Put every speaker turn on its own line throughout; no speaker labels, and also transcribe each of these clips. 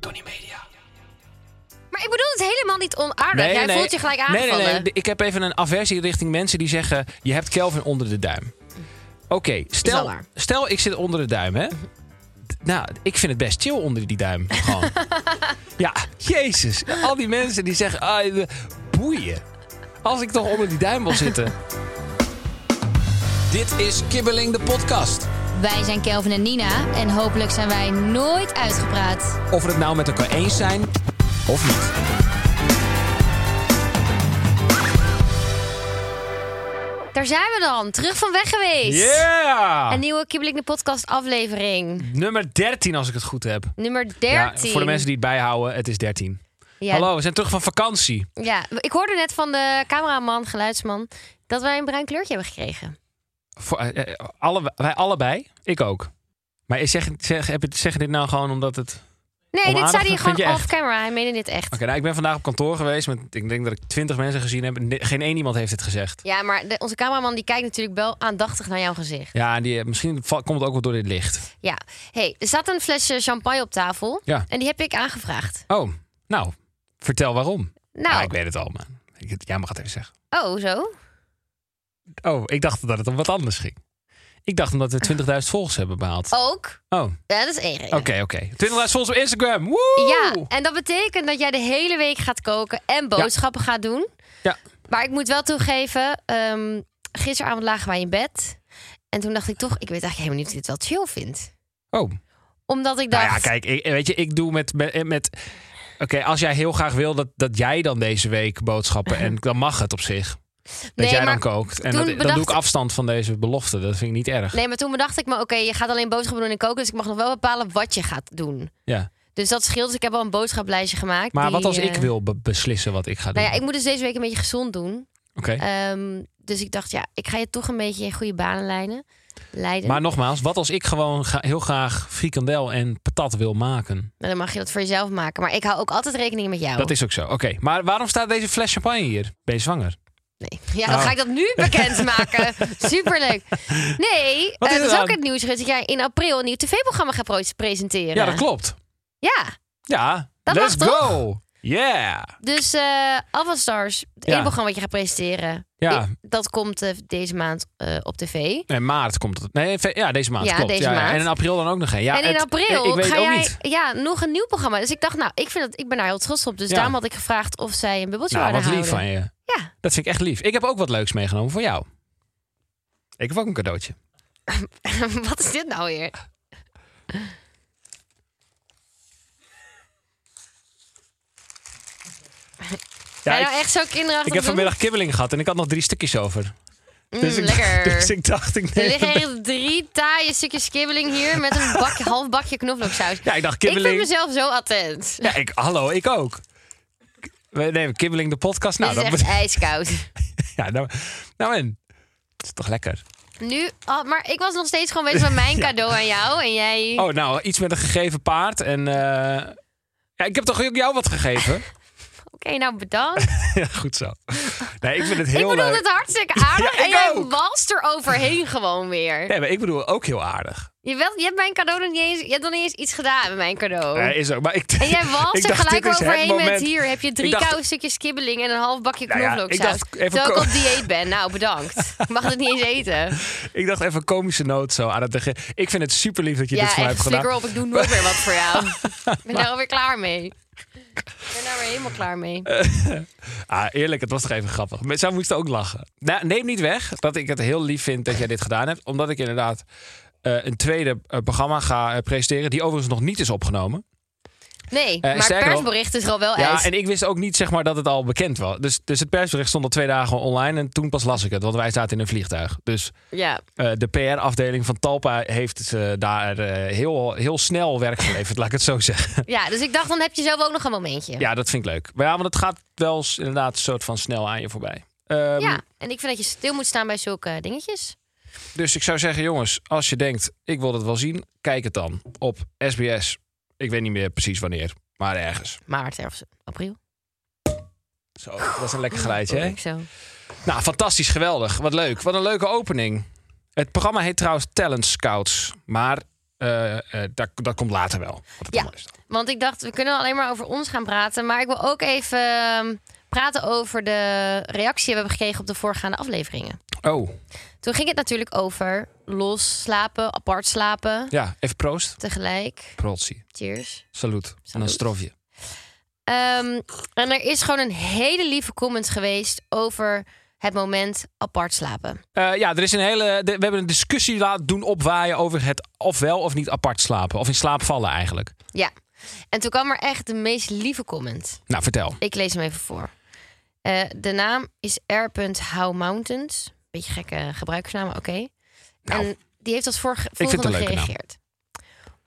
Tony Media.
Maar ik bedoel het helemaal niet onaardig. Jij voelt je gelijk
nee,
aangevallen.
nee, nee. Ik heb even een aversie richting mensen die zeggen... je hebt Kelvin onder de duim. Oké,
wel
stel,
waar.
stel ik zit onder de duim, hè? D- Nou, ik vind het best chill onder die duim. Gewoon. ja, jezus. Al die mensen die zeggen... Ah, eh, boeien. Als ik toch onder die duim wil zitten.
Dit is Kibbeling de podcast.
Wij zijn Kelvin en Nina en hopelijk zijn wij nooit uitgepraat.
Of we het nou met elkaar eens zijn of niet.
Daar zijn we dan, terug van weg geweest.
Yeah!
Een nieuwe Kibbeling de podcast aflevering.
Nummer 13, als ik het goed heb.
Nummer 13.
Ja, voor de mensen die het bijhouden, het is 13.
Ja,
Hallo, we zijn terug van vakantie.
Ja, ik hoorde net van de cameraman, geluidsman, dat wij een bruin kleurtje hebben gekregen.
Voor, eh, eh, alle, wij allebei, ik ook. Maar is- zeg, zeg, heb je- zeg je dit nou gewoon omdat het... Oké,
Nee,
Om
dit
aandacht,
zei hij
dat vind je
gewoon
echt?
off camera. Hij meende dit echt.
nou, ik ben vandaag op kantoor geweest. Met, ik denk dat ik twintig mensen gezien heb. Ne- Geen één iemand heeft het gezegd.
Ja, maar de- onze cameraman die kijkt natuurlijk wel aandachtig naar jouw gezicht.
Ja, en die, eh, misschien va- komt het ook wel door dit licht.
Ja. hey, er staat een flesje champagne op tafel.
Ja.
En die heb ik aangevraagd.
Oh, nou, vertel waarom.
Nou,
Ja, ik weet het al, maar ik- jij mag het even zeggen.
oh, zo.
Oh, ik dacht dat het om wat anders ging. Ik dacht omdat we 20.000 volgers hebben behaald.
Ook.
Oh, oké,
Ja, dat is één reden.
oké. 20.000 volgers op Instagram. Woe!
Ja, en dat betekent dat jij de hele week gaat koken en boodschappen gaat doen.
Ja.
Maar ik moet wel toegeven, ehm, gisteravond lagen wij in bed. En toen dacht ik toch, ik weet eigenlijk helemaal niet of ik dit wel chill vind.
Oh,
Omdat ik dacht,
Nou ja, kijk, ik, weet je, ik doe met. met, met Oké, als jij heel graag wil dat, dat jij dan deze week boodschappen. en dan mag het op zich. Dat
Nee,
jij
maar
dan kookt. En
toen
dat, dan doe
bedacht-
ik afstand van deze belofte. Dat vind ik niet erg.
nee, maar toen bedacht ik me, oké, je gaat alleen boodschappen doen en koken. Dus ik mag nog wel bepalen wat je gaat doen.
Ja.
Dus dat scheelt. Dus ik heb al een boodschaplijstje gemaakt.
Maar
die,
wat als
eh,
ik wil be- beslissen wat ik ga doen?
Nou ja, ik moet dus deze week een beetje gezond doen.
Oké.
Ehm, dus ik dacht, ja, ik ga je toch een beetje in goede banen leiden. leiden.
maar nogmaals, wat als ik gewoon ga- heel graag frikandel en patat wil maken?
Nou, dan mag je dat voor jezelf maken. Maar ik hou ook altijd rekening met jou.
Dat is ook zo. Oké, maar waarom staat deze fles champagne hier? Ben je zwanger?
Nee. Ja, dan
Oh.
ga ik dat nu bekendmaken. Superleuk. Nee,
Wat
eh, dat
is er
is
dan?
ook het nieuws, Rut, dat jij in april een nieuw tv-programma gaat pro- presenteren.
Ja, dat klopt.
Ja,
Ja,
Dat
let's
mag toch?
go! Yeah!
dus eh Alpha Stars, het
Ja.
ene programma wat je gaat presenteren,
Ja.
ik- dat komt eh, deze maand eh, op tv.
Nee, maart komt het. Nee, ve- ja, deze maand.
Ja,
klopt.
deze
ja, ja.
maand.
En in april dan ook nog een. Ja,
en in
het-
april
ik, ik weet
ga
ook
jij
niet.
Ja, nog een nieuw programma. Dus ik dacht, nou, ik, vind dat, ik ben daar heel trots op. Dus
Ja.
daarom had ik gevraagd of zij een bubbeltje
Nou, wat
wilden
lief van
houden.
je.
Ja,
Dat vind ik echt lief. Ik heb ook wat leuks meegenomen voor jou. Ik heb ook een cadeautje.
wat is dit nou weer?
Ja,
ben je
ik,
nou echt zo kinderachtig?
ik
doen?
heb vanmiddag kibbeling gehad en ik had nog drie stukjes over.
Mm,
Dus, ik,
lekker.
dus ik dacht, ik
Er
neem
liggen
het-
echt drie taaie stukjes kibbeling hier met een bak, half bakje knoflooksaus.
Ja, ik dacht
Ik vind
kibbeling.
mezelf zo attent.
Ja, ik, hallo, ik ook. We nemen kibbeling de podcast. Nou,
Dit is
dat
echt
bet-
ijskoud.
ja, nou, nou en. Het is toch lekker.
Nu, ah, maar ik was nog steeds gewoon bezig met mijn cadeau aan jou. En jij...
Oh, nou, iets met een gegeven paard. En eh, ja, ik heb toch ook jou wat gegeven?
Oké, nou bedankt.
ja, goed zo. Nee, ik vind het heel
ik bedoel
leuk.
het hartstikke aardig.
Ja,
en
ik
jij
ook.
walst er overheen gewoon weer.
Nee, maar ik bedoel ook heel aardig.
Je, wel, je hebt mijn cadeau nog niet eens... Je hebt nog niet eens iets gedaan met mijn cadeau.
Eh, is ook, maar ik,
Oh. en jij
ik
walst er
dacht,
gelijk
dit is het
overheen met
moment.
hier. Heb je drie
Ik dacht-
koude stukjes kibbeling en een half bakje
Nou ja, ik
knoflooksaus.
dacht even
terwijl ik
ko-
op dieet ben. Nou, bedankt. Ik mag het niet eens eten.
Ik dacht even een komische noot zo aan het begin. Ik vind het super lief dat je
ja,
dit voor mij
echt,
hebt gedaan.
flikker op. Ik doe nooit meer wat voor jou. Ik ben daar alweer klaar mee. Ik ben daar weer helemaal klaar mee.
Ah, eerlijk, het was toch even grappig. Maar zij moesten ook lachen. Nou, neem niet weg dat ik het heel lief vind dat jij dit gedaan hebt. Omdat ik inderdaad eh, een tweede eh, programma ga eh, presenteren. Die overigens nog niet is opgenomen.
Nee,
Eh,
maar het
sterker nog-
persbericht Oh, is er al wel
Ja,
uit.
en ik wist ook niet zeg maar, dat het al bekend was. Dus, dus het persbericht stond al twee dagen online en toen pas las ik het, want wij zaten in een vliegtuig. Dus
Ja.
eh, de PR-afdeling van Talpa heeft eh, daar eh, heel, heel snel werk geleverd, laat ik het zo zeggen.
ja, dus ik dacht, dan heb je zelf ook nog een momentje.
Ja, dat vind ik leuk. Maar ja, want het gaat wel eens inderdaad een soort van snel aan je voorbij. Ehm,
Ja, en ik vind dat je stil moet staan bij zulke dingetjes.
Dus ik zou zeggen, jongens, als je denkt, ik wil dat wel zien, kijk het dan op SBS. Ik weet niet meer precies wanneer, maar ergens.
Maart, ergens april.
Zo, dat is een lekker geluidje, hè?
Ik zo.
Nou, fantastisch, geweldig. Wat leuk. Wat een leuke opening. Het programma heet trouwens Talent Scouts. Maar eh, eh, dat, dat komt later wel. Wat het
Ja.
allemaal is.
Want ik dacht, we kunnen alleen maar over ons gaan praten. Maar ik wil ook even ehm, praten over de reactie die we hebben gekregen op de voorgaande afleveringen.
Oh,
Toen ging het natuurlijk over los slapen, apart slapen.
ja. Even proost.
Tegelijk.
Protsie.
Cheers.
Salut. En een
Salut.
strofje.
Ehm, en er is gewoon een hele lieve comment geweest over het moment apart slapen.
Eh, ja, er is een hele. de- we hebben een discussie laten doen opwaaien over het ofwel of niet apart slapen. Of in slaap vallen eigenlijk.
Ja. En toen kwam er echt de meest lieve comment.
Nou, vertel.
Ik lees hem even voor. Eh, de naam is R.How Mountains. Beetje gekke gebruikersnaam, maar oké.
Nou.
en die heeft als vorige,
het
volgende
een leuke naam.
gereageerd.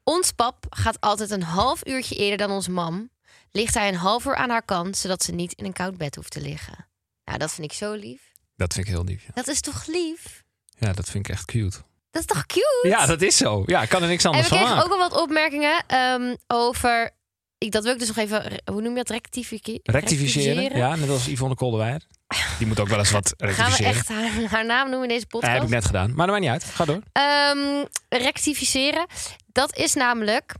Ons pap gaat altijd een half uurtje eerder dan ons mam. Ligt hij een half uur aan haar kant, zodat ze niet in een koud bed hoeft te liggen. Nou, dat vind ik zo lief.
Dat vind ik heel lief. ja.
Dat is toch lief?
Ja, dat vind ik echt cute.
Dat is toch cute?
Ja, dat is zo. Ja, ik kan er niks
En
anders
we
van
kregen
maken.
ook al wat opmerkingen ehm, over... Ik, dat wil ik dus nog even... re- Hoe noem je dat? Rectifici-
Rectificeren. Ja, net als Yvonne Kolderweijer. Die moet ook wel eens wat
Gaan we
rectificeren.
echt haar, haar naam noemen in deze
Dat
podcast?
heb ik net gedaan. Maar dat maakt niet uit. Ga door.
Ehm, rectificeren. Dat is namelijk.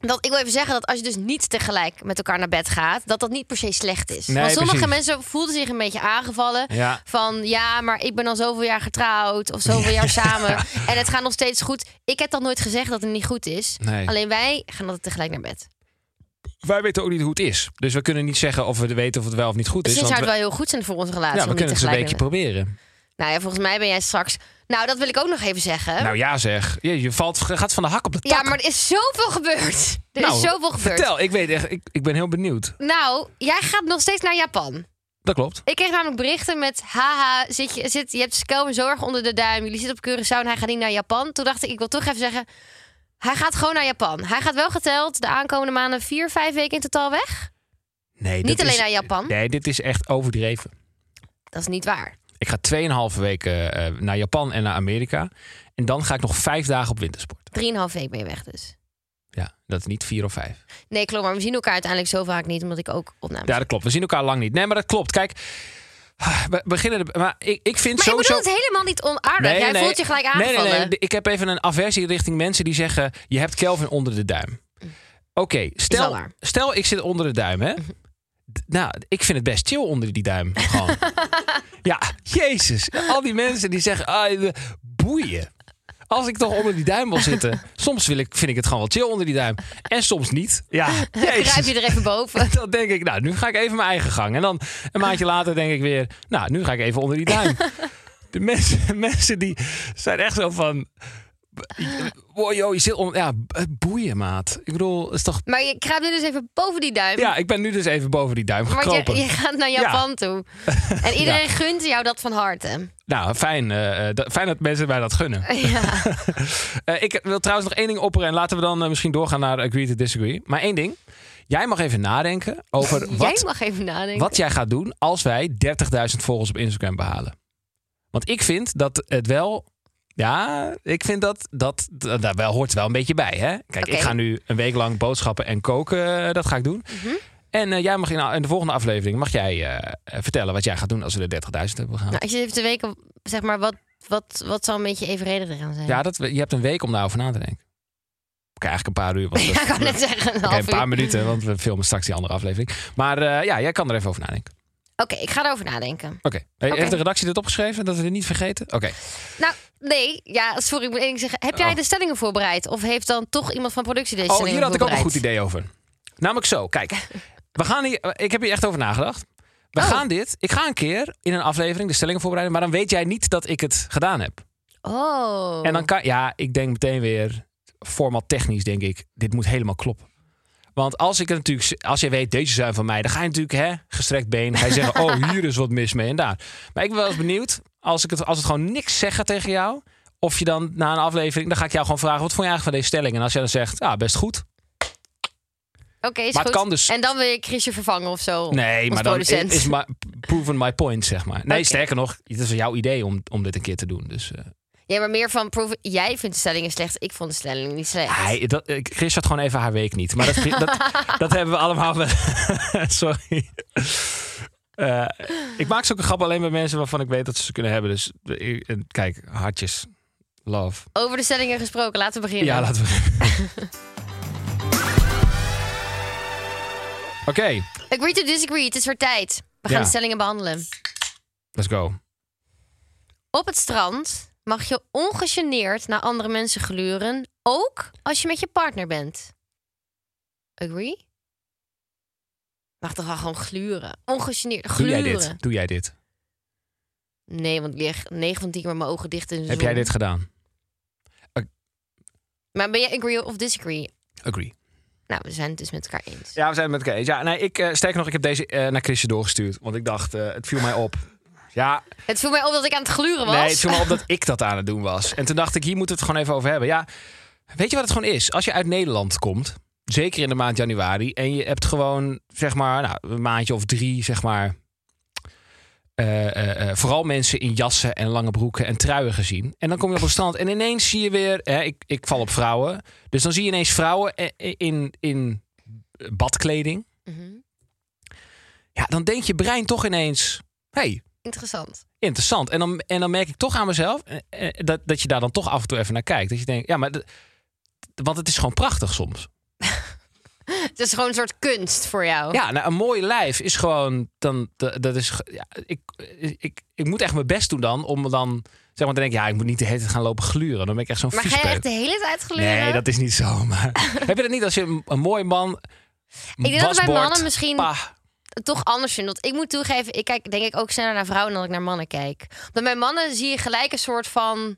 Dat, ik wil even zeggen dat als je dus niet tegelijk met elkaar naar bed gaat, dat dat niet per se slecht is.
Nee,
Want sommige
precies.
mensen voelden zich een beetje aangevallen.
Ja.
Van ja, maar ik ben al zoveel jaar getrouwd of zoveel jaar samen. En het gaat nog steeds goed. Ik heb dat nooit gezegd dat het niet goed is.
Nee. Dus
Alleen wij gaan altijd tegelijk naar bed.
Wij weten ook niet hoe het is. Dus we kunnen niet zeggen of we weten of het wel of niet goed is.
Sinds zou
want
Dus het
we,
wel heel goed zijn voor onze relatie.
ja, we
om niet
kunnen het een
tegelijk
beetje
naar bed.
proberen.
Nou ja, volgens mij ben jij straks. Nou, dat wil ik ook nog even zeggen.
Nou ja zeg. Je, je valt, gaat van de hak op de tak.
ja, maar er is zoveel gebeurd. Er
Nou,
is zoveel gebeurd.
Vertel, ik weet echt, ik, ik ben heel benieuwd.
Nou, jij gaat nog steeds naar Japan.
Dat klopt.
Ik kreeg namelijk berichten met... Haha, zit je, zit, je hebt Kelvin zo erg onder de duim. Jullie zitten op Curaçao en hij gaat niet naar Japan. Toen dacht ik, ik wil toch even zeggen... Hij gaat gewoon naar Japan. Hij gaat wel geteld de aankomende maanden vier, vijf weken in totaal weg.
Nee,
Niet alleen naar Japan.
Nee, dit is echt overdreven.
Dat is niet waar.
Ik ga 2,5 weken eh, naar Japan en naar Amerika. En dan ga ik nog vijf dagen op wintersport.
Drieënhalf week ben je weg dus.
Ja, dat is niet vier of vijf.
Nee, klopt. Maar we zien elkaar uiteindelijk zo vaak niet. Omdat ik ook opname
Ja, dat klopt. We zien elkaar lang niet. Nee, maar dat klopt. Kijk, we beginnen. er- maar ik, ik vind
Maar ik
sowieso.
bedoel het helemaal niet onaardig.
Nee,
jij
nee.
voelt je gelijk
Nee,
aangevallen.
Nee, nee, Ik heb even een aversie richting mensen die zeggen: je hebt Kelvin onder de duim. Oké,
wel
stel,
waar. Mhm.
stel ik zit onder de duim, hè? D- Nou, ik vind het best chill onder die duim. Gewoon. ja, jezus. Al die mensen die zeggen: ah, eh, boeien. Als ik toch onder die duim wil zitten, soms wil ik, vind ik het gewoon wel chill onder die duim. En soms niet. Ja,
Kruip
jezus.
je er even boven.
Dan denk ik, nou, nu ga ik even mijn eigen gang. En dan een maandje later denk ik weer, nou, nu ga ik even onder die duim. De mensen, mensen die zijn echt zo van... Wow, joh, je zit on, ja, boeien, maat. Ik bedoel, het is toch...
Maar je kruipt nu dus even boven die duim.
Ja, ik ben nu dus even boven die duim
Want
gekropen.
je, je gaat naar Japan toe. En iedereen gunt jou dat van harte.
Nou, fijn, eh, eh, dat- fijn dat mensen mij dat gunnen.
Ja.
Eh, ik wil trouwens nog één ding opperen. En laten we dan eh, misschien doorgaan naar Agree to Disagree. Maar één ding. Jij mag even nadenken over
Jij
wat
mag even nadenken.
Wat jij gaat doen als wij 30.000 volgers op Instagram behalen. Want ik vind dat het wel. Ja, ik vind dat dat, dat daar wel, hoort wel een beetje bij. Hè? Kijk,
Oké.
ik ga nu een week lang boodschappen en koken. eh, dat ga ik doen.
Mhm.
En eh, jij mag in, in de volgende aflevering mag jij eh, eh, vertellen wat jij gaat doen als we de 30.000 hebben gehaald.
Nou, als je even te weken, zeg maar, wat, wat, wat zou een beetje evenredig eraan zijn?
Ja, dat, je hebt een week om daarover na te denken. Oké, eigenlijk een paar uur. want dat-
Ja, ik kan net zeggen. Een
dus Oké,
half
een paar
uur.
minuten, want we filmen straks die andere aflevering. Maar eh, ja, jij kan er even over nadenken.
Oké, ik ga erover nadenken.
Oké. Heeft
Oké.
de redactie dit opgeschreven? Dat we dit niet vergeten? Oké.
Nou, nee, ja, sorry, ik moet één ding zeggen. Heb jij
Oh.
de stellingen voorbereid? Of heeft dan toch iemand van productie deze
Oh,
stellingen
hier had ik ook een goed
voorbereid?
idee over. Namelijk zo, kijk. We gaan hier, eh, ik heb hier echt over nagedacht. We
Oh.
gaan dit, ik ga een keer in een aflevering de stellingen voorbereiden, maar dan weet jij niet dat ik het gedaan heb.
Oh.
En dan kan, ja, ik denk meteen weer, format technisch denk ik, dit moet helemaal kloppen. Want als ik het natuurlijk, als je weet, deze zijn van mij, dan ga je natuurlijk hè, gestrekt been. Ga je zeggen, oh, hier is wat mis mee en daar. Maar ik ben wel eens benieuwd, als, ik het, als het gewoon niks zeggen tegen jou, of je dan na een aflevering, dan ga ik jou gewoon vragen, wat vond je eigenlijk van deze stelling? En als jij dan zegt, ja, best goed.
Oké, is
Maar
goed.
het kan dus-
En dan wil je Chrisje vervangen of zo.
Nee,
als
maar dan
producent.
is my, proven my point, zeg maar. Nee,
Oké.
sterker nog, het is jouw idee om, om dit een keer te doen. Dus, eh,
Ja, maar meer van proeven. Jij vindt de stellingen slecht. Ik vond de stellingen niet slecht.
hij, dat, eh, Chris had gewoon even haar week niet. Maar dat, dat, dat hebben we allemaal wel. Sorry. Eh, ik maak zulke grappen alleen bij mensen waarvan ik weet dat ze ze kunnen hebben. Dus eh, eh, kijk, hartjes. Love.
Over de stellingen gesproken, laten we beginnen.
Ja, laten we. Oké,
Agree to disagree. Het is weer tijd. We gaan
Ja.
de stellingen behandelen.
let's go.
Op het strand mag je ongegeneerd naar andere mensen gluren. Ook als je met je partner bent. Agree? Mag toch wel gewoon gluren? Ongegeneerd.
Doe
Gluren.
jij dit? Doe jij dit?
Nee, want ik lig 9 van 10 keer met mijn ogen dicht in de
Heb
zon.
jij dit gedaan?
Maar ben jij agree of disagree?
Agree.
Nou, we zijn het dus met elkaar eens.
Ja, we zijn het met elkaar eens. Ja, nee, ik, eh, sterker nog, ik heb deze eh, naar Chrisje doorgestuurd. Want ik dacht, eh, het viel mij op. Ja,
Het viel mij op dat ik aan het gluren was.
Nee, het viel me op dat ik dat aan het doen was. En toen dacht ik, hier moeten we het gewoon even over hebben. Ja, weet je wat het gewoon is? Als je uit Nederland komt, zeker in de maand januari... en je hebt gewoon, zeg maar, nou, een maandje of drie, zeg maar... eh, eh, eh, vooral mensen in jassen en lange broeken en truien gezien. En dan kom je op een strand en ineens zie je weer... Hè, ik, ik val op vrouwen. Dus dan zie je ineens vrouwen eh, eh, in, in badkleding.
Mhm.
Ja, dan denkt je brein toch ineens... hey,
Interessant.
interessant. En dan, en dan merk ik toch aan mezelf eh, eh, dat, dat je daar dan toch af en toe even naar kijkt. Dat je denkt, ja, maar. de- Want het is gewoon prachtig soms.
Het is gewoon een soort kunst voor jou.
Ja, nou, een mooi lijf is gewoon. Dan, de- dat is, ge- ja, ik, ik, ik moet echt mijn best doen dan. Om dan. Zeg maar, te denken, ja, ik moet niet de hele tijd gaan lopen gluren. Dan ben ik echt zo'n
maar ga je
viespeuk.
echt de hele tijd gluren?
Nee, dat is niet zo. Maar heb je dat niet als je een, een mooi man.
Ik denk dat het bij
wasbord,
mannen misschien
pa,
het toch anders vindt. Want ik moet toegeven, ik kijk denk ik ook sneller naar vrouwen dan dat ik naar mannen kijk. Want bij mannen zie je gelijk een soort van...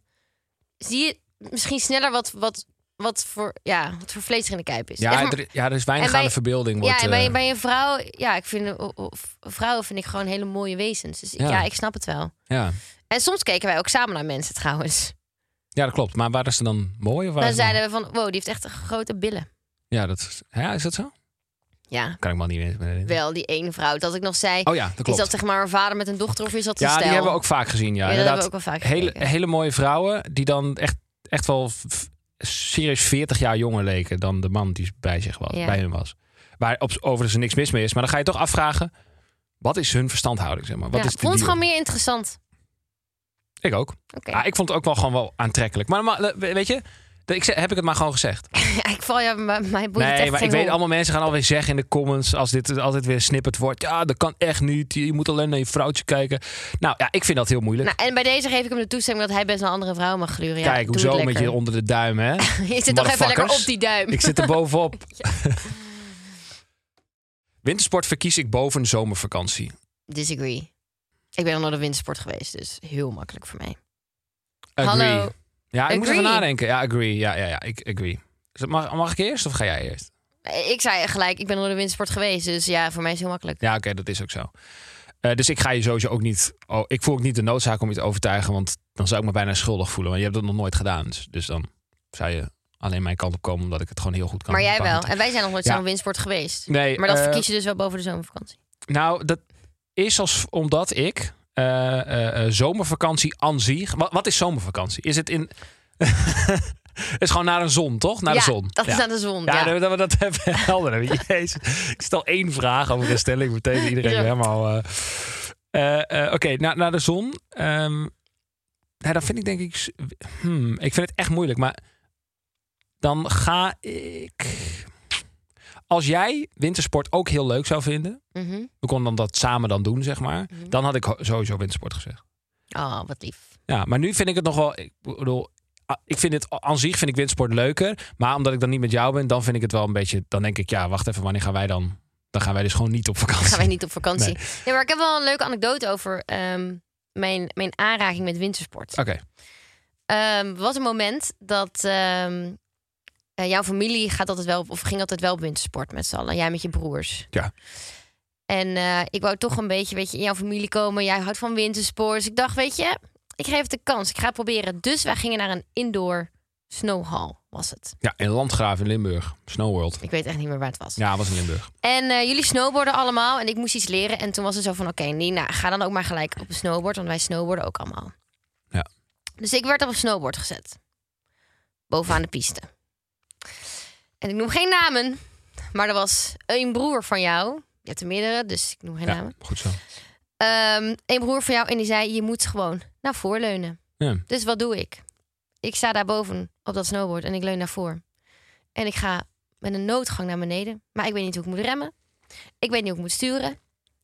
Zie je misschien sneller wat, wat, wat, voor, ja, wat voor vlees er in de kuip is. Echt
ja,
maar-
er, ja, er is weinig
en bij-
aan de verbeelding. Wordt,
ja, en bij,
eh,
bij een vrouw... Ja, ik vind, o- o- vrouwen vind ik gewoon hele mooie wezens. Dus ik-
Ja.
ja. ik snap het wel.
ja.
En soms keken wij ook samen naar mensen trouwens.
ja, dat klopt. Maar waren ze dan mooi? Of waren
Dan
ze dan-
zeiden we van, wow, die heeft echt grote billen.
Ja, dat, is- ja, is dat zo?
Ja,
Kan ik me al niet meer meer herinneren.
wel die ene vrouw. Dat ik nog zei,
Oh ja, dat
is
klopt.
dat zeg maar een vader met een dochter of is dat een
ja,
stijl?
die hebben we ook vaak gezien. Ja,
Ja, dat
inderdaad.
hebben we ook wel vaak
hele,
gekeken.
hele mooie vrouwen die dan echt, echt wel v- v- serieus 40 jaar jonger leken dan de man die bij zich was,
Ja.
bij hun was. Waar op, overigens niks mis mee is, maar dan ga je toch afvragen: wat is hun verstandhouding? Zeg maar? wat
ja,
is de
vond het
deal?
gewoon meer interessant.
Ik ook.
Oké.
Ja, ik vond het ook wel gewoon wel aantrekkelijk. Maar, maar we- weet je, de- ik, ze- heb ik het maar gewoon gezegd.
Ja, ik val ja, mijn mijn boeit het
nee,
echt
maar
geen
ik weet
hol.
allemaal mensen gaan alweer zeggen in de comments als dit altijd weer snipperd wordt. Ja, dat kan echt niet. Je moet alleen naar je vrouwtje kijken. Nou ja, ik vind dat heel moeilijk.
Nou, en bij deze geef ik hem de toestemming dat hij best een andere vrouw mag gluren. Ja,
Kijk,
doe
hoezo
het
met je
lekker.
onder de duim, hè?
Je zit toch even lekker
Motherfuckers.
op die duim.
ik zit er bovenop. Wintersport verkies ik boven zomervakantie.
Disagree. Ik ben nog nooit op wintersport geweest, dus heel makkelijk voor mij.
Agree.
Hallo.
Ja, ik moet even
Agree.
nadenken. Ja, agree. Ja, ja, ja, ik agree. Is dat- Mag, mag ik eerst of ga jij eerst?
Ik zei gelijk, ik ben nog nooit op wintersport geweest, dus ja, voor mij is het heel makkelijk.
Ja, oké, dat is ook zo. Eh, dus ik ga je sowieso ook niet... Oh, ik voel ook niet de noodzaak om je te overtuigen... want dan zou ik me bijna schuldig voelen. Want je hebt dat nog nooit gedaan. Dus, dus dan zou je alleen mijn kant op komen... omdat ik het gewoon heel goed kan.
maar jij
pakken.
wel. En wij zijn nog nooit
Ja.
zo'n wintersport geweest.
Nee,
Maar dat
eh,
verkies je dus wel boven de zomervakantie.
Nou, dat is als, omdat ik eh, eh, eh, zomervakantie aan zich. Wat, wat is zomervakantie? Is het in. Het is gewoon naar een zon, toch? Naar
ja,
de zon.
dat
ja.
is aan de zon.
Ja,
ja.
dat we dat even helder hebben. Jezus. Ik stel één vraag over een stelling. Meteen iedereen
Ja.
weer helemaal... eh. Eh, eh, Oké, na- naar de zon. Ehm ja, dan vind ik denk ik... s- hmm, ik vind het echt moeilijk, maar... Dan ga ik... Als jij wintersport ook heel leuk zou vinden...
Mhm.
We konden dan dat samen dan doen, zeg maar.
Mhm.
Dan had ik ho- sowieso wintersport gezegd.
Oh, wat lief.
Ja, maar nu vind ik het nog wel... Ik bedoel, ah, ik vind het aan zich vind ik wintersport leuker. Maar omdat ik dan niet met jou ben, dan vind ik het wel een beetje... Dan denk ik, ja, wacht even, wanneer gaan wij dan... Dan gaan wij dus gewoon niet op vakantie.
Gaan wij niet op vakantie. Ja, maar ik heb wel een leuke anekdote over ehm, mijn, mijn aanraking met wintersport.
Oké,
Ehm, was een moment dat ehm, eh, jouw familie gaat altijd wel, of ging altijd wel op wintersport met z'n allen. Jij met je broers.
Ja.
En eh, ik wou toch een beetje weet je, in jouw familie komen. Jij houdt van wintersport. Dus ik dacht, weet je, ik geef het de kans. Ik ga het proberen. Dus wij gingen naar een indoor snowhall, was het.
Ja, in Landgraaf in Limburg. Snowworld.
Ik weet echt niet meer waar het was.
Ja, was in Limburg.
En eh, jullie snowboarden allemaal. En ik moest iets leren. En toen was het zo van, oké, Nina, ga dan ook maar gelijk op een snowboard. Want wij snowboarden ook allemaal.
Ja.
Dus ik werd op een snowboard gezet. Bovenaan de piste. En ik noem geen namen. Maar er was een broer van jou. Je hebt er meerdere, dus ik noem geen
Ja,
namen.
goed zo.
Ehm, een broer van jou en die zei, je moet gewoon naar voren leunen.
Ja.
Dus wat doe ik? Ik sta daar boven op dat snowboard en ik leun naar voren. En ik ga met een noodgang naar beneden. Maar ik weet niet hoe ik moet remmen. Ik weet niet hoe ik moet sturen.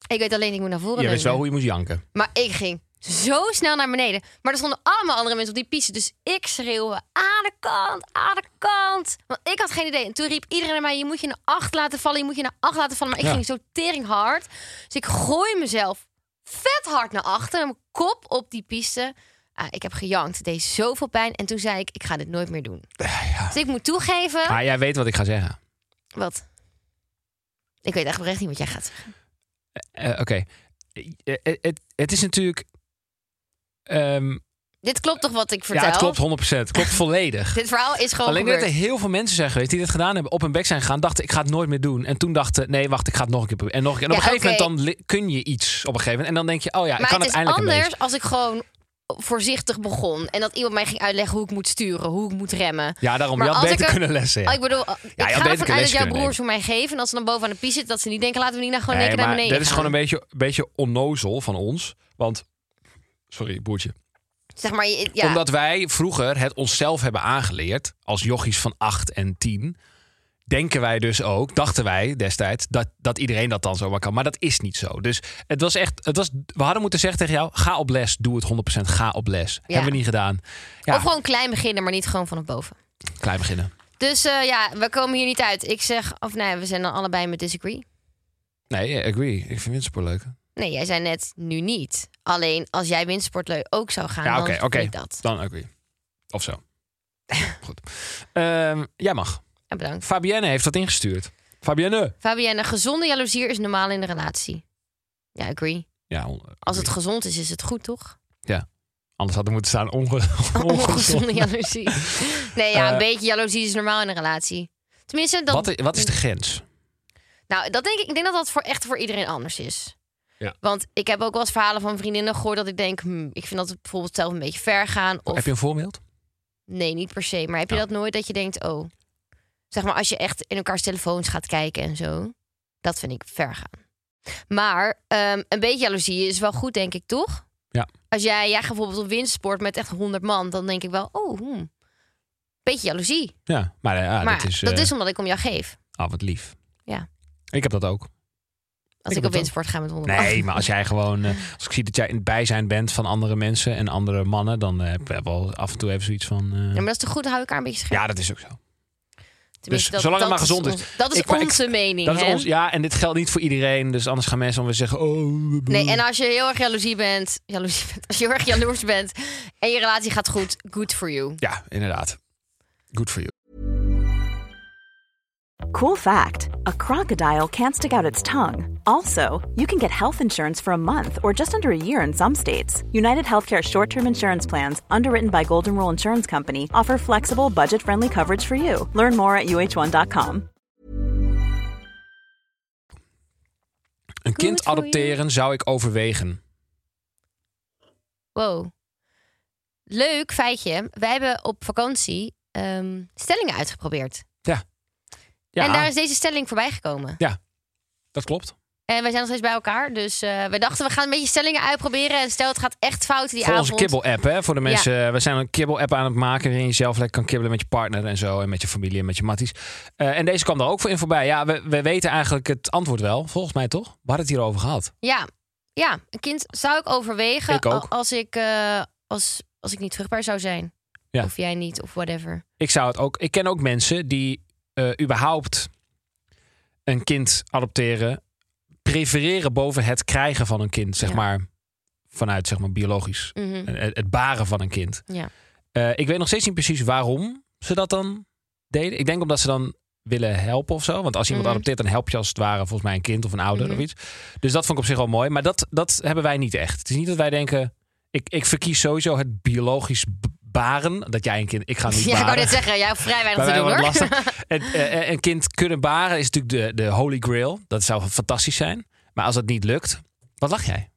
Ik weet alleen ik moet naar voren
Je
leunen.
wist wel hoe je moest janken.
Maar ik ging zo snel naar beneden. Maar er stonden allemaal andere mensen op die piste. Dus ik schreeuwde aan de kant, aan de kant. Want ik had geen idee. En toen riep iedereen naar mij, je moet je naar acht laten vallen. Je moet je naar acht laten vallen. Maar ik
Ja.
ging zo tering hard. Dus ik gooi mezelf vet hard naar achter. Mijn kop op die piste. Ah, ik heb gejankt. Het deed zoveel pijn. En toen zei ik, ik ga dit nooit meer doen. Dus ik moet toegeven.
Maar jij weet wat ik ga zeggen.
Wat? Ik weet echt oprecht niet wat jij gaat zeggen.
Eh, Oké. Eh, eh, Het het is natuurlijk... ehm,
Dit klopt toch wat ik vertel?
ja, het klopt 100%. Het klopt volledig.
Dit verhaal is gewoon
Alleen dat
gebeurd.
er heel veel mensen zijn geweest die dit gedaan hebben, op hun bek zijn gegaan, dachten ik ga het nooit meer doen. En toen dachten, nee, wacht, ik ga het nog een keer proberen. En, nog een keer. en op
Ja,
een gegeven
oké.
moment dan li- kun je iets op een gegeven moment. En dan denk je, oh ja, ik
Maar
kan
het is
uiteindelijk een beetje.
anders als ik gewoon voorzichtig begon. En dat iemand mij ging uitleggen hoe ik moet sturen, hoe ik moet remmen.
Ja, daarom,
Maar
je had
als
beter
ik er-
kunnen lessen. Ja.
Oh, ik bedoel, ik
had
ga
beter
ervan
les
uit dat jouw
kunnen
broers voor mij geven. En als ze dan bovenaan de pie zitten, dat ze niet denken... laten we niet nou gewoon
Nee,
lekker naar
maar
beneden
dat is
gaan.
gewoon een beetje, beetje onnozel van ons. Want, sorry, broertje.
Zeg maar, je- ja.
Omdat wij vroeger het onszelf hebben aangeleerd, als jochies van 8 en 10, denken wij dus ook, dachten wij destijds, dat, dat iedereen dat dan zomaar kan. Maar dat is niet zo. Dus het was echt, het was, we hadden moeten zeggen tegen jou, ga op les, doe het 100%, ga op les. Hebben we niet gedaan. Ja,
Of gewoon klein beginnen, maar niet gewoon vanaf boven.
klein beginnen.
Dus eh, ja, we komen hier niet uit. Ik zeg, of nee, we zijn dan allebei met disagree.
Nee, yeah, agree. Ik vind wintersport leuk.
Nee, jij zei net, nu niet. Alleen, als jij windsportleu ook zou gaan,
Ja,
dan
oké, oké.
vind ik dat.
Dan agree. Of zo. Goed. Ehm, jij mag.
Ja, bedankt.
Fabienne heeft dat ingestuurd. Fabienne.
Fabienne, gezonde jaloezie is normaal in de relatie. Ja, agree.
Ja, on-
Als het
agree.
gezond is, is het goed, toch?
Anders had er moeten staan onge
Ongezonde jaloezie. Nee, ja, een
Eh.
beetje jaloezie is normaal in een relatie. Tenminste, dat,
Wat, i- wat is de grens?
nou, dat denk ik, ik denk dat dat voor echt voor iedereen anders is.
Ja.
Want ik heb ook wel eens verhalen van vriendinnen gehoord dat ik denk, hmm, ik vind dat bijvoorbeeld zelf een beetje ver gaan. Of
Heb je een voorbeeld?
nee, niet per se. Maar heb je
Ja.
dat nooit dat je denkt, oh, zeg maar als je echt in elkaars telefoons gaat kijken en zo, dat vind ik ver gaan. Maar ehm, een beetje jaloezie is wel goed, denk ik, toch?
Ja.
Als jij, jij gaat bijvoorbeeld op winstsport met echt 100 man, dan denk ik wel, oh, hmm, beetje jaloezie.
Ja, maar, eh, ja,
maar
dat is... eh,
omdat ik om jou geef.
Ah, wat lief.
Ja.
Ik heb dat ook.
Als
Ik
ik,
heb het ook.
op wintersport ga met 100
Nee, maar als jij gewoon... eh, als ik zie dat jij in het bijzijn bent van andere mensen en andere mannen... dan eh, heb ik wel af en toe even zoiets van... eh,
Ja, maar dat is toch goed? Dan hou ik elkaar een beetje scherp.
ja, dat is ook zo.
Tenminste,
dus zolang het maar gezond
ons- dat is
Ik- maar ik-
onze mening.
Dat is
hè?
ons, ja, en dit geldt niet voor iedereen. Dus anders gaan mensen dan weer zeggen... Oh, we-
Nee, en als je heel erg jaloezie bent, jaloezie bent, als je heel erg jaloers bent en je relatie gaat goed, good for you.
Ja, inderdaad. Good for you.
Cool fact a crocodile can't stick out its tongue. Also, you can get health insurance for a month or just under a year in some states. United Healthcare short term insurance plans, underwritten by Golden Rule Insurance Company, offer flexible, budget friendly coverage for you. Learn more at uh1.com.
Een kind
for you.
adopteren zou ik overwegen.
Wow. Leuk feitje. Wij hebben op vakantie ehm, stellingen uitgeprobeerd.
Ja,
En daar is deze stelling voorbij gekomen.
dat klopt.
En wij zijn nog steeds bij elkaar. Dus eh we dachten, we gaan een beetje stellingen uitproberen. En stel, het gaat echt fout die
Voor
avond.
onze kibbel-app, hè? Voor de mensen. eh, We zijn een kibbel-app aan het maken. waarin je zelf lekker kan kibbelen met je partner en zo. En met je familie en met je matties. Eh, en deze kwam daar ook voor in voorbij. Ja, we, we weten eigenlijk het antwoord wel. Volgens mij toch? We hadden het hierover gehad.
Ja, ja, een kind zou ik overwegen
Ik ook.
a- als ik, eh, als, als ik niet terugbaar zou zijn.
Ja.
Of jij niet, of whatever.
Ik zou het ook. Ik ken ook mensen die eh, überhaupt een kind adopteren. prefereren boven het krijgen van een kind. Zeg
Ja.
maar vanuit zeg maar, biologisch.
Mhm.
Het, het baren van een kind.
Ja.
Eh, ik weet nog steeds niet precies waarom ze dat dan deden. Ik denk omdat ze dan willen helpen of zo. Want als iemand
Mhm.
adopteert, dan help je als het ware volgens mij een kind of een ouder
Mhm.
of iets. Dus dat vond ik op zich wel mooi. Maar dat, dat hebben wij niet echt. Het is niet dat wij denken, ik, ik verkies sowieso het biologisch b- baren. Dat jij een kind, ik ga niet
Ja, ik wou
baren.
net zeggen, jij hebt vrij weinig
Bij
te
mij
doen
wordt
hoor.
het lastig. Het, eh, eh, een kind kunnen baren is natuurlijk de, de holy grail. Dat zou fantastisch zijn. Maar als dat niet lukt, wat lach jij?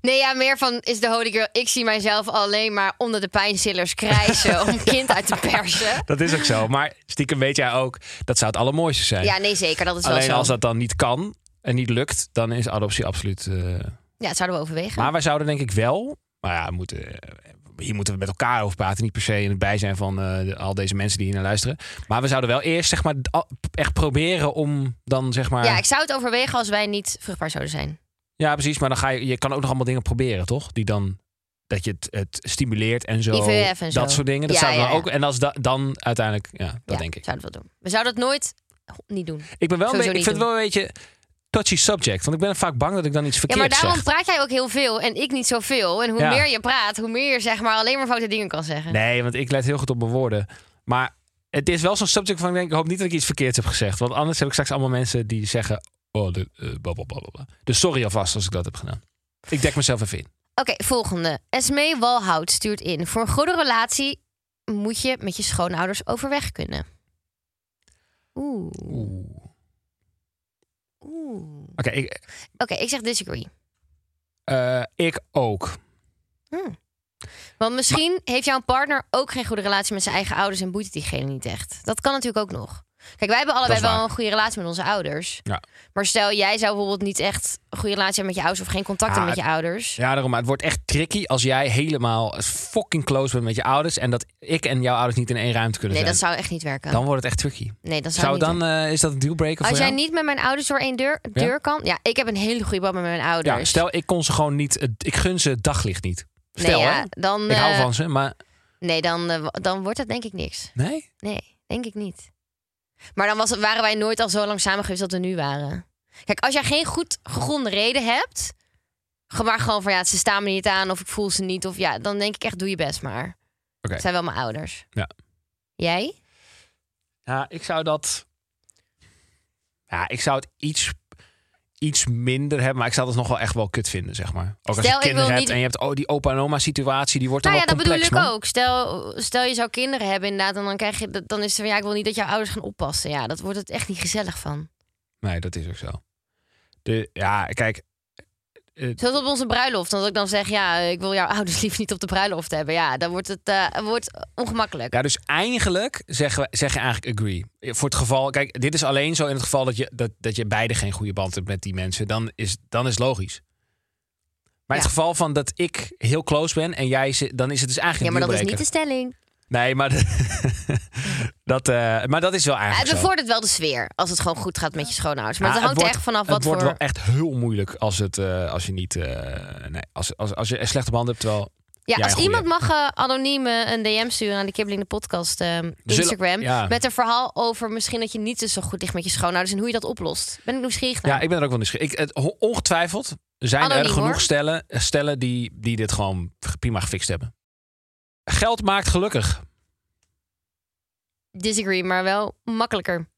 Nee, ja, meer van is de holy grail. Ik zie mijzelf alleen maar onder de pijnstillers krijsen om een kind uit te persen.
Dat is ook zo. Maar stiekem weet jij ook, dat zou het allermooiste zijn.
Ja, nee, zeker. Dat is wel
Alleen
zo.
als dat dan niet kan en niet lukt, dan is adoptie absoluut... eh,
Ja, dat zouden we overwegen.
Maar wij zouden denk ik wel... Maar ja, we moeten, eh, hier moeten we met elkaar over praten. Niet per se in het bijzijn van eh, de- al deze mensen die hier naar luisteren. Maar we zouden wel eerst zeg maar, al- echt proberen om dan zeg maar...
Ja, ik zou het overwegen als wij niet vruchtbaar zouden zijn.
Ja, precies. Maar dan ga je, je kan ook nog allemaal dingen proberen, toch? Die dan dat je het, het stimuleert en zo.
IVF en zo.
Dat soort dingen. Dat
Ja,
zou ik
ja,
wel
ja.
ook. En als da- dan uiteindelijk, ja, dat
ja,
denk ik.
Zouden we wel doen. We zouden het nooit niet doen.
Ik ben wel, een
Sowieso
beetje, ik
niet
vind het wel een beetje touchy subject, want ik ben vaak bang dat ik dan iets
Ja,
verkeerd
maar daarom
zeg.
praat jij ook heel veel en ik niet zoveel. En hoe
Ja.
meer je praat, hoe meer je zeg maar alleen maar foute dingen kan zeggen.
Nee, want ik let heel goed op mijn woorden. Maar het is wel zo'n subject van ik denk, ik hoop niet dat ik iets verkeerds heb gezegd, want anders heb ik straks allemaal mensen die zeggen, oh, de, eh, blablabla. Dus sorry alvast als ik dat heb gedaan. Ik dek mezelf even in.
Oké, volgende. Esmee Walhout stuurt in. Voor een goede relatie moet je met je schoonouders overweg kunnen. Oeh.
Oeh.
Oeh. Oké,
Oké, ik,
ik zeg disagree.
eh, ik ook.
Want misschien heeft jouw partner ook geen goede relatie met zijn eigen ouders en boeit het diegene niet echt. Dat kan natuurlijk ook nog. Kijk, wij hebben allebei
Dat is
wel
waar.
een goede relatie met onze ouders.
Ja.
Maar stel, jij zou bijvoorbeeld niet echt een goede relatie hebben met je ouders of geen contact
Ja,
hebben met je ouders.
Ja, daarom. Maar het wordt echt tricky als jij helemaal fucking close bent met je ouders. En dat ik en jouw ouders niet in één ruimte kunnen
nee, dat
zijn.
zou echt niet werken.
Dan wordt het echt tricky.
nee, dat zou,
Zou
niet
dan, eh, is dat een dealbreaker voor
Als jij
jou?
niet met mijn ouders door één deur, deur kan. Ja, ik heb een hele goede band met mijn ouders.
ja, stel, ik kon ze gewoon niet... het- Ik gun ze het daglicht niet.
nee,
Stel, hè?
ja, dan,
Ik hou
eh,
van ze, maar...
Nee, dan, eh, wa- dan wordt dat denk ik niks.
Nee?
Nee, denk ik niet. Maar dan was, het- waren wij nooit al zo lang samen geweest dat we nu waren. Kijk, als jij geen goed gegronde reden hebt. ge- Maar gewoon van ja, ze staan me niet aan of ik voel ze niet. Of ja, dan denk ik echt, doe je best maar.
Oké.
Het zijn wel mijn ouders.
Ja.
Jij?
Ja, ik zou dat... Ja, ik zou het iets, iets minder hebben. Maar ik zou dat nog wel echt wel kut vinden, zeg maar. Ook als
Stel,
je
ik
kinderen
wil
hebt
niet-
en je hebt oh, die opa en oma situatie. Die wordt
nou ja,
dan
dat
wel complex,
bedoel ik
man.
ook. Stel, stel je zou kinderen hebben inderdaad. En dan, krijg je, dat- dan is het van ja, ik wil niet dat jouw ouders gaan oppassen. Ja, dat wordt het echt niet gezellig van.
Nee, dat is ook zo. De, ja, kijk... eh,
Zoals op onze bruiloft. Dat ik dan zeg, ja, ik wil jouw ouders lief niet op de bruiloft hebben. Ja, dan wordt het eh, wordt ongemakkelijk.
Ja, dus eigenlijk zeggen we zeggen eigenlijk agree. Voor het geval, kijk, dit is alleen zo in het geval dat je, dat, dat je beide geen goede band hebt met die mensen. Dan is, dan is logisch. Maar
Ja.
in het geval van dat ik heel close ben en jij, ze- dan is het dus
Ja,
eigenlijk
maar
een
dat is niet de
dealbreaker.
stelling.
Nee, maar, de- dat, eh, maar dat is wel
Het
eigenlijk zo.
bevordert wel de sfeer als het gewoon goed gaat met je schoonouders. Maar
Ja,
dat hangt
wordt-
er echt vanaf
Het
wat
wordt
voor.
wel echt heel moeilijk als, het, eh, als je niet... eh, nee, als, als, als je een slechte band hebt, terwijl...
Ja,
jij
als
een goeie
iemand mag eh, anoniem eh, een DM sturen aan de Kibbeling de podcast eh, Instagram
ja.
met een verhaal over misschien dat je niet dus zo goed ligt met je schoonouders en hoe je dat oplost. Ben ik nieuwsgierig naar.
Ja, ik ben er ook wel nieuwsgierig. Ik, het, ho- ongetwijfeld zijn er
Anoniem,
genoeg
hoor.
stellen, stellen die, die dit gewoon prima gefixt hebben. Geld maakt gelukkig.
Disagree, maar wel makkelijker.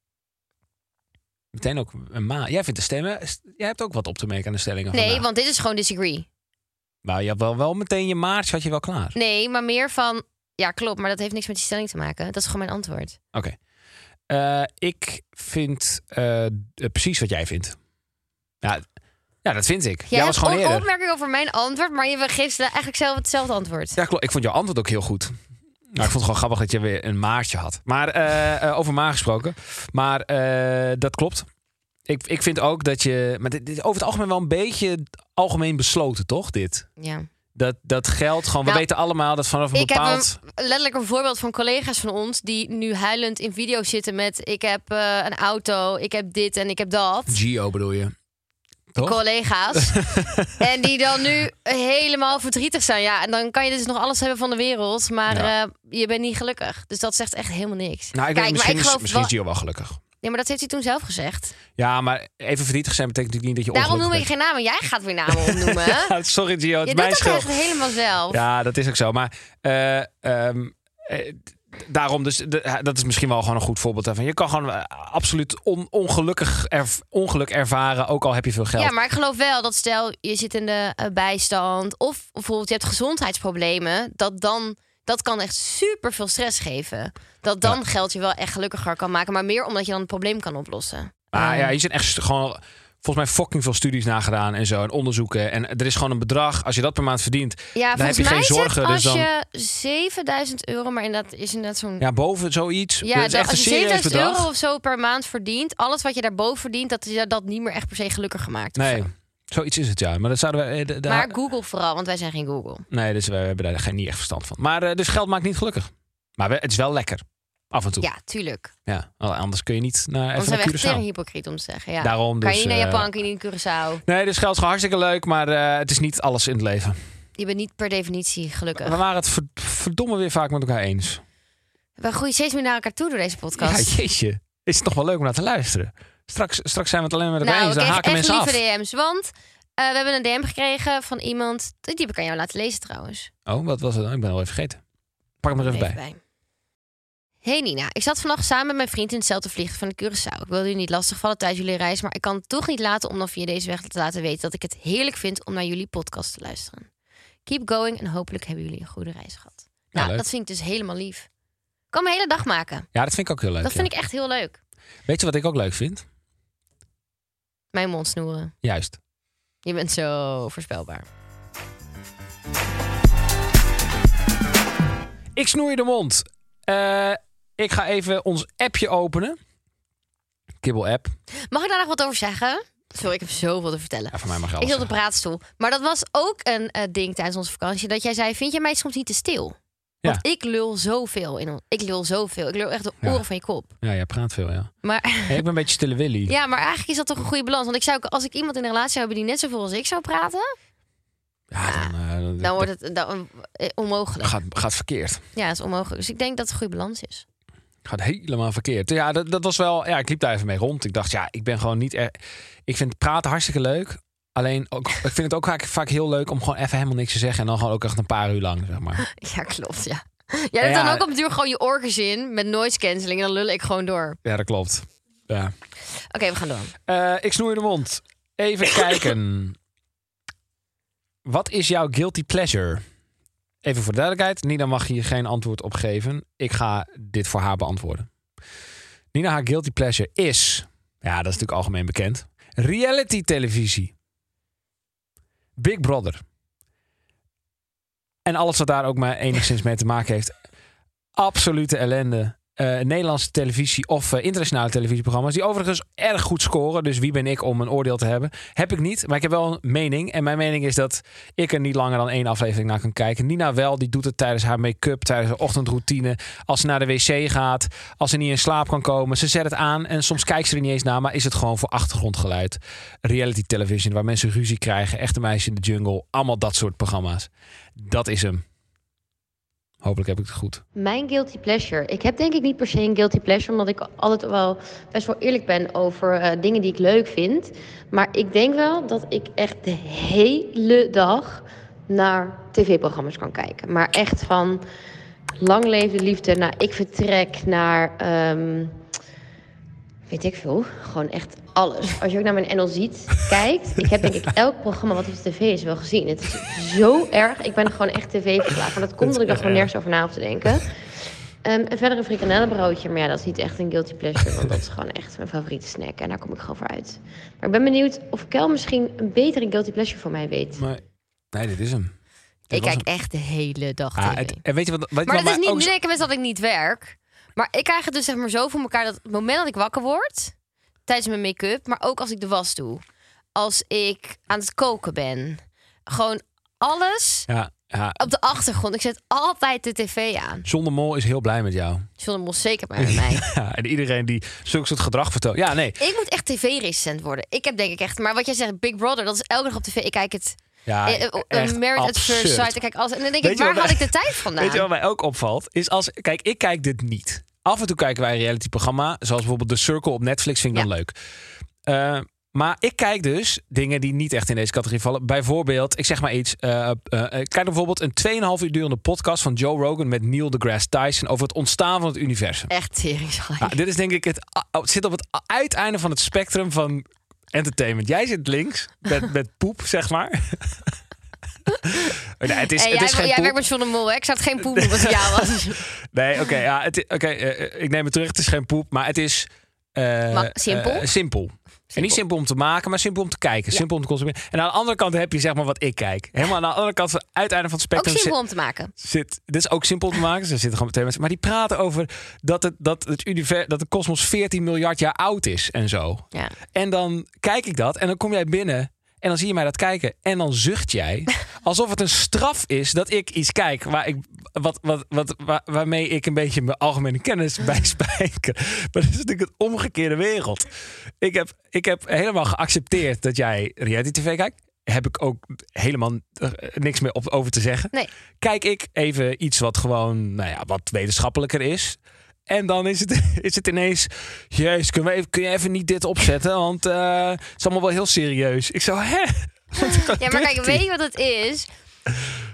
Meteen ook een ma. Jij vindt de stemmen. st- Jij hebt ook wat op te merken aan de stellingen.
Nee,
vandaag.
want dit is gewoon disagree.
Maar je had wel, wel meteen je maartje had je wel klaar.
Nee, maar meer van ja, klopt, maar dat heeft niks met die stelling te maken. Dat is gewoon mijn antwoord.
Oké. Eh, ik vind eh, eh, precies wat jij vindt. Ja, ja dat vind ik.
Jij
jij was
hebt
gewoon
een
eerder.
opmerking over mijn antwoord, maar je geeft eigenlijk zelf hetzelfde antwoord.
Ja, klopt. Ik vond jouw antwoord ook heel goed. Maar ik vond het gewoon grappig dat je weer een maartje had. Maar eh, eh, over ma gesproken. Maar eh, dat klopt. Ik, ik vind ook dat je. Maar dit, dit is over het algemeen wel een beetje algemeen besloten, toch? Dit.
ja.
Dat, dat geldt gewoon.
Nou,
we weten allemaal dat vanaf een
Ik heb
bepaald.
een, letterlijk een voorbeeld van collega's van ons die nu huilend in video's zitten met ik heb eh, een auto, ik heb dit en ik heb dat.
Geo bedoel je. Toch?
Collega's. en die dan nu helemaal verdrietig zijn. Ja, en dan kan je dus nog alles hebben van de wereld, maar
Ja.
eh, je bent niet gelukkig. Dus dat zegt echt helemaal niks.
nou,
Kijk,
ik weet,
maar
misschien,
ik
is-
geloof
misschien
wel-
is Gio wel gelukkig.
Nee, maar dat heeft hij toen zelf gezegd.
Ja, maar even verdrietig zijn betekent natuurlijk niet dat je
Daarom noem ik
ongelukkig
geen namen. Jij gaat weer namen opnoemen. hè?
bent. Sorry
je
Gio, het is
doet
mijn
dat
schuld.
echt helemaal zelf.
Ja, dat is ook zo. Maar eh, ehm, eh, d- daarom, dus de- dat is misschien wel gewoon een goed voorbeeld daarvan. Je kan gewoon eh, absoluut on- ongelukkig erv- ongeluk ervaren, ook al heb je veel geld.
Ja, maar ik geloof wel dat stel je zit in de eh, bijstand of bijvoorbeeld je hebt gezondheidsproblemen, dat dan dat kan echt super veel stress geven. Dat dan geld je wel echt gelukkiger kan maken, maar meer omdat je dan het probleem kan oplossen.
Maar ja, hier zijn echt st- gewoon volgens mij fucking veel studies nagedaan en zo en onderzoeken. En er is gewoon een bedrag. Als je dat per maand verdient,
Ja,
dan heb
volgens
je
mij
geen
is
zorgen.
het als
dus dan
je 7000 euro, maar inderdaad is inderdaad zo'n
ja, boven zoiets.
Ja,
dat is
dan-
echt een
als je
serieus
7000
bedrag.
euro of zo per maand verdient, alles wat je daarboven verdient, dat is dat niet meer echt per se gelukkig gemaakt. of
Nee,
zo.
zoiets is het ja. Maar dat zouden we. eh, de- de-
Maar Google vooral, want wij zijn geen Google.
nee, dus we hebben daar geen, niet echt verstand van. Maar eh, dus geld maakt niet gelukkig. Maar we- het is wel lekker. Af en toe.
Ja, tuurlijk.
Ja, anders kun je niet naar
Want
even
zijn
naar
we echt
Curaçao.
tering hypocriet om te zeggen. Ja.
Daarom
kan
dus,
je niet naar
eh,
Japan, kan je niet naar Curaçao.
Nee, dus geld is gewoon hartstikke leuk, maar eh, het is niet alles in het leven.
Je bent niet per definitie gelukkig.
We waren het verd- verdomme weer vaak met elkaar eens.
We groeien steeds meer naar elkaar toe door deze
Ja,
podcast.
jeetje. Is het nog wel leuk om naar te luisteren? Straks, straks zijn we het alleen maar met elkaar
nou, we
eens. Dan
kregen
haken
echt
mensen
lieve
af.
DM's, want eh, we hebben een DM gekregen van iemand... Die heb ik aan jou laten lezen trouwens.
Oh, wat was het dan? Ik ben al even vergeten. Pak hem er even,
Even
bij.
bij. Hey Nina, ik zat vannacht samen met mijn vriend in hetzelfde vliegtuig van de Curaçao. Ik wilde jullie niet lastigvallen tijdens jullie reis, maar ik kan het toch niet laten om dan via deze weg te laten weten dat ik het heerlijk vind om naar jullie podcast te luisteren. Keep going en hopelijk hebben jullie een goede reis gehad.
Ja,
Nou,
leuk.
dat vind ik dus helemaal lief. Kan mijn hele dag maken.
Ja, dat vind ik ook heel leuk.
Dat
ja.
vind ik echt heel leuk.
Weet je wat ik ook leuk vind?
Mijn mond snoeren.
Juist.
Je bent zo voorspelbaar.
Ik snoer je de mond. Eh, ik ga even ons appje openen. Kibbel app.
Mag ik daar nog wat over zeggen? Sorry, ik heb zoveel te vertellen.
Ja, voor mij mag je
ik
alles
zat op de
zeggen.
praatstoel. Maar dat was ook een eh, ding tijdens onze vakantie. Dat jij zei, vind jij mij soms niet te stil? Want ik lul zoveel. In, on- ik lul zoveel. Ik lul echt de
Ja.
oren van je kop.
Ja, jij praat veel, ja.
Maar,
Hey, ik ben een beetje stille Willy.
ja, maar eigenlijk is dat toch een goede balans. Want ik zou, ook- als ik iemand in een relatie zou hebben die net zoveel als ik zou praten...
Ja, dan, eh, dan-
dan wordt het dan, eh, onmogelijk.
gaat, gaat verkeerd.
Ja, dat is onmogelijk. Dus ik denk dat het een goede balans is.
Gaat helemaal verkeerd. Ja, dat, dat was wel. Ja, ik liep daar even mee rond. Ik dacht, ja, ik ben gewoon niet. Er, ik vind praten hartstikke leuk. Alleen, ook, ik vind het ook vaak, vaak heel leuk om gewoon even helemaal niks te zeggen. En dan gewoon ook echt een paar uur lang, zeg maar.
Ja, klopt, ja. Jij hebt
Ja,
dan
ja.
ook op het duur gewoon je organs in met noise cancelling. En dan lul ik gewoon door.
Ja, dat klopt. Ja.
Oké, we gaan door.
Eh, ik snoer je de mond. Even kijken. Wat is jouw guilty pleasure? Even voor de duidelijkheid. Nina mag hier geen antwoord op geven. Ik ga dit voor haar beantwoorden. Nina, haar guilty pleasure is... Ja, dat is natuurlijk algemeen bekend. Reality televisie. Big Brother. En alles wat daar ook maar enigszins mee te maken heeft. Absolute ellende. Eh, Nederlandse televisie of eh, internationale televisieprogramma's. Die overigens erg goed scoren. Dus wie ben ik om een oordeel te hebben? Heb ik niet. Maar ik heb wel een mening. En mijn mening is dat ik er niet langer dan één aflevering naar kan kijken. Nina wel. Die doet het tijdens haar make-up. Tijdens haar ochtendroutine. Als ze naar de wc gaat. Als ze niet in slaap kan komen. Ze zet het aan. En soms kijkt ze er niet eens naar. Maar is het gewoon voor achtergrondgeluid. Reality television. Waar mensen ruzie krijgen. Echte meisje in de jungle. Allemaal dat soort programma's. Dat is hem. Hopelijk heb ik het goed.
Mijn guilty pleasure. Ik heb denk ik niet per se een guilty pleasure, omdat ik altijd wel best wel eerlijk ben over eh, dingen die ik leuk vind. Maar ik denk wel dat ik echt de hele dag naar tv-programma's kan kijken. Maar echt van lang leef de liefde naar ik vertrek naar. ehm, Weet ik veel. Gewoon echt alles. Als je ook naar mijn NL ziet, kijkt. Ik heb denk ik elk programma wat op de tv is wel gezien. Het is zo erg. Ik ben gewoon echt tv-verslaafd. Maar dat komt omdat ik er gewoon nergens over na hoef te denken. Ehm, en verder een frikandellenbroodje. Maar ja, dat is niet echt een guilty pleasure. Want dat is gewoon echt mijn favoriete snack. En daar kom ik gewoon voor uit. Maar ik ben benieuwd of Kel misschien een betere guilty pleasure voor mij weet.
Maar nee, dit is hem. Dit
ik
was
kijk echt de hele dag
Ah,
tv.
het- oh, en weet je wat? Weet
maar
je wat
dat is niet
ook-
zeker met dat ik niet werk. Maar ik krijg het dus zeg maar zo voor elkaar dat het moment dat ik wakker word... tijdens mijn make-up, maar ook als ik de was doe. Als ik aan het koken ben. Gewoon alles
Ja, ja,
op de achtergrond. Ik zet altijd de tv aan.
John de Mol is heel blij met jou.
John de Mol is zeker bij mij.
Ja, en iedereen die zulk soort gedrag vertoont. Ja, nee.
Ik moet echt tv-resistent worden. Ik heb denk ik echt... Maar wat jij zegt, Big Brother, dat is elke dag op tv. Ik kijk het...
Ja, e-
eh, eh, eh,
echt
Married at First
absurd.
Sight. Ik kijk alles. En dan denk
Weet
ik,
je
waar
wat-
had ik de tijd vandaan?
Weet je wat mij ook opvalt? Is als, kijk, ik kijk dit niet. Af en toe kijken wij een realityprogramma. Zoals bijvoorbeeld The Circle op Netflix. Vind ik dan leuk. Eh, Maar ik kijk dus dingen die niet echt in deze categorie vallen. Bijvoorbeeld, ik zeg maar iets. eh eh, eh, kijk bijvoorbeeld een 2,5 uur durende podcast van Joe Rogan met Neil deGrasse Tyson over het ontstaan van het universum.
Echt teringzaai.
Nou, dit is denk ik het, het zit op het uiteinde van het spectrum van entertainment. Jij zit links met, met poep, zeg maar. nee, het is,
Hey,
het
Eh, jij
is geen
jij
poep.
werkt met John de Mol, hè? Ik zou het geen poep noemen als het jou was.
Nee, oké, ja, het i- oké, eh, eh, ik neem het terug. Het is geen poep, maar het is eh,
Ma- simpel?
eh, simpel. En niet simpel om te maken, maar simpel om te kijken, simpel om te consumeren. En aan de andere kant heb je zeg maar wat ik kijk. Helemaal aan de andere kant van het uiteinde van het
Ook
spectrum zit-
simpel om te maken.
zit. Dit is ook simpel te maken. Ze zitten gewoon meteen mensen. Maar die praten over dat het, dat het univers, dat de kosmos 14 miljard jaar oud is en zo.
Ja.
En dan kijk ik dat en dan kom jij binnen. En dan zie je mij dat kijken. En dan zucht jij. Alsof het een straf is dat ik iets kijk. Waar ik, wat, wat, wat, waar- waarmee ik een beetje mijn algemene kennis bij spijker. Maar dat is natuurlijk het omgekeerde wereld. Ik heb, ik heb helemaal geaccepteerd dat jij reality tv kijkt. Heb ik ook helemaal eh, niks meer op, over te zeggen
Nee.
kijk ik even iets wat gewoon, nou ja, wat wetenschappelijker is. En dan is het, is het ineens, jezus, kun, we even, kun je even niet dit opzetten? Want eh, het is allemaal wel heel serieus. Ik zo, hè?
Ja, maar kijk, weet je wat het is?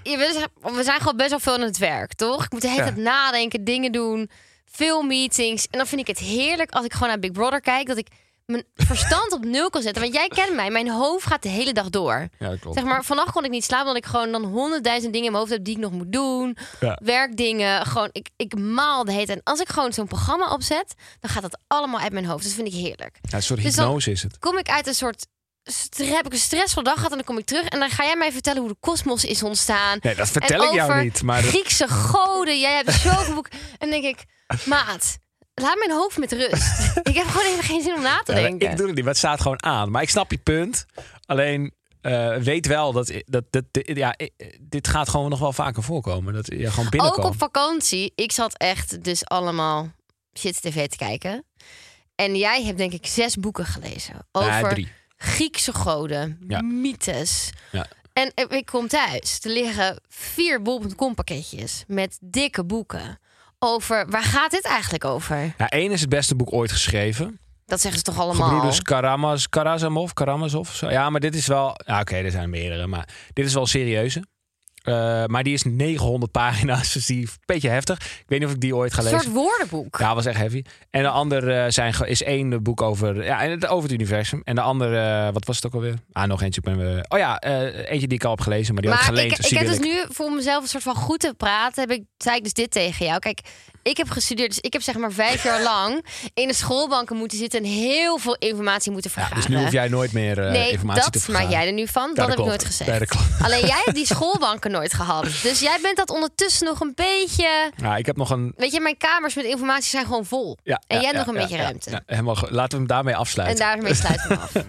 Je, we, zijn, we zijn gewoon best wel veel aan het werk, toch? Ik moet de hele
Ja.
tijd nadenken, dingen doen, veel meetings. En dan vind ik het heerlijk als ik gewoon naar Big Brother kijk, dat ik mijn verstand op nul kan zetten. Want jij kent mij, mijn hoofd gaat de hele dag door.
Ja, dat klopt.
Zeg maar, vannacht kon ik niet slapen, omdat ik gewoon dan honderdduizend dingen in mijn hoofd heb die ik nog moet doen.
Ja.
Werkdingen, gewoon, ik, ik maal de hele tijd. En als ik gewoon zo'n programma opzet, dan gaat dat allemaal uit mijn hoofd. Dat vind ik heerlijk
Ja, een soort
Dus dan-
hypnose is het.
kom ik uit een soort. stre- Heb ik een stressvolle dag gehad en dan kom ik terug. En dan ga jij mij vertellen hoe de kosmos is ontstaan.
Nee, dat
En
vertel ik jou
over
niet, maar dat-
Griekse goden, jij hebt zoveel boek. En dan denk ik, maat, laat mijn hoofd met rust. ik heb gewoon even geen zin om na te
Ja, maar
denken.
ik doe het niet, maar het staat gewoon aan. Maar ik snap je punt. Alleen eh, weet wel dat, dat, dat, dit- ja, eh, dit gaat gewoon nog wel vaker voorkomen. Dat je gewoon
Ook
binnenkomt.
op vakantie. Ik zat echt dus allemaal shit tv te kijken. En jij hebt denk ik zes boeken gelezen.
Nee,
Over
drie.
Griekse goden,
Ja.
mythes.
Ja.
En eh, ik kom thuis. Er liggen vier bol.com pakketjes met dikke boeken. Over waar gaat dit eigenlijk over?
Ja, één is het beste boek ooit geschreven.
Dat zeggen ze toch allemaal?
Gebroeders Karamaz, Karazamov, Karamazov. of Zo. Ja, maar dit is wel... Ja, Oké, er zijn meerdere, maar dit is wel serieuze. Eh, maar die is 900 pagina's, dus die is een beetje heftig. Ik weet niet of ik die ooit ga
Een
lezen.
soort woordenboek.
Ja, was echt heavy. En de ander eh, zijn, ge- is één boek over, ja, en het- over het universum. En de ander, eh, wat was het ook alweer? Ah, nog eentje. Ik ben, weer- oh ja, eh, eentje die ik al heb gelezen, maar die
maar
had ik geleend.
ik,
dus
ik
die
heb dus
wil ik.
nu voor mezelf een soort van goed te praten. Heb ik, zei ik dus dit tegen jou. Kijk, ik heb gestudeerd, dus ik heb zeg maar vijf jaar lang in de schoolbanken moeten zitten en heel veel informatie moeten
Ja,
vergaren.
dus nu hoef jij nooit meer eh,
nee,
informatie te
dat maak
vergaren.
jij er nu van.
dat
dat heb ik
klopt.
nooit gezegd.
Ja, dat klopt.
Alleen jij hebt die schoolbanken nooit gehad. Dus jij bent dat ondertussen nog een beetje...
Ja, ik heb nog een...
Weet je, mijn kamers met informatie zijn gewoon vol.
Ja,
en
ja,
jij hebt
ja,
nog een
ja,
beetje
ja,
ruimte.
ja, helemaal, goed. laten we hem daarmee
En
afsluiten.
daarmee sluiten we hem af.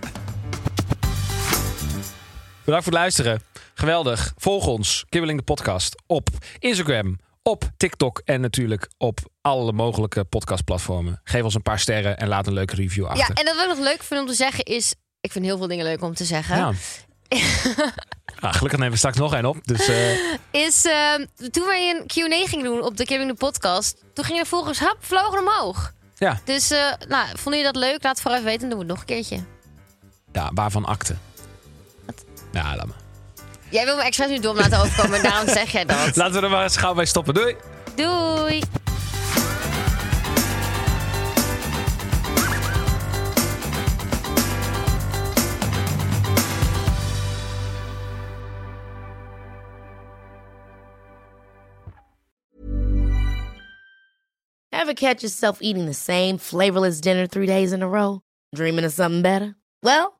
Bedankt voor het luisteren. Geweldig. Volg ons, Kibbeling de Podcast, op Instagram, op TikTok en natuurlijk op alle mogelijke podcastplatformen. Geef ons een paar sterren en laat een leuke review achter.
Ja, en dat wat ik nog leuk vind om te zeggen is... Ik vind heel veel dingen leuk om te zeggen.
Ja. Ah, gelukkig nemen we straks nog een op. Dus eh,
Is ehm, toen wij een Q&A gingen doen op de Kibbing de podcast... toen gingen de volgers hap, vlogen omhoog.
ja.
Dus eh, nou, vonden jullie dat leuk? Laat het vooral even weten en doen we het nog een keertje.
ja, waarvan akte? Ja, laat maar.
Jij wil me expres nu dom laten overkomen, daarom zeg jij dat.
Laten we er maar eens gauw bij stoppen. Doei!
Doei!
Ever catch yourself eating the same flavorless dinner three days in a row? Dreaming of something better? Well,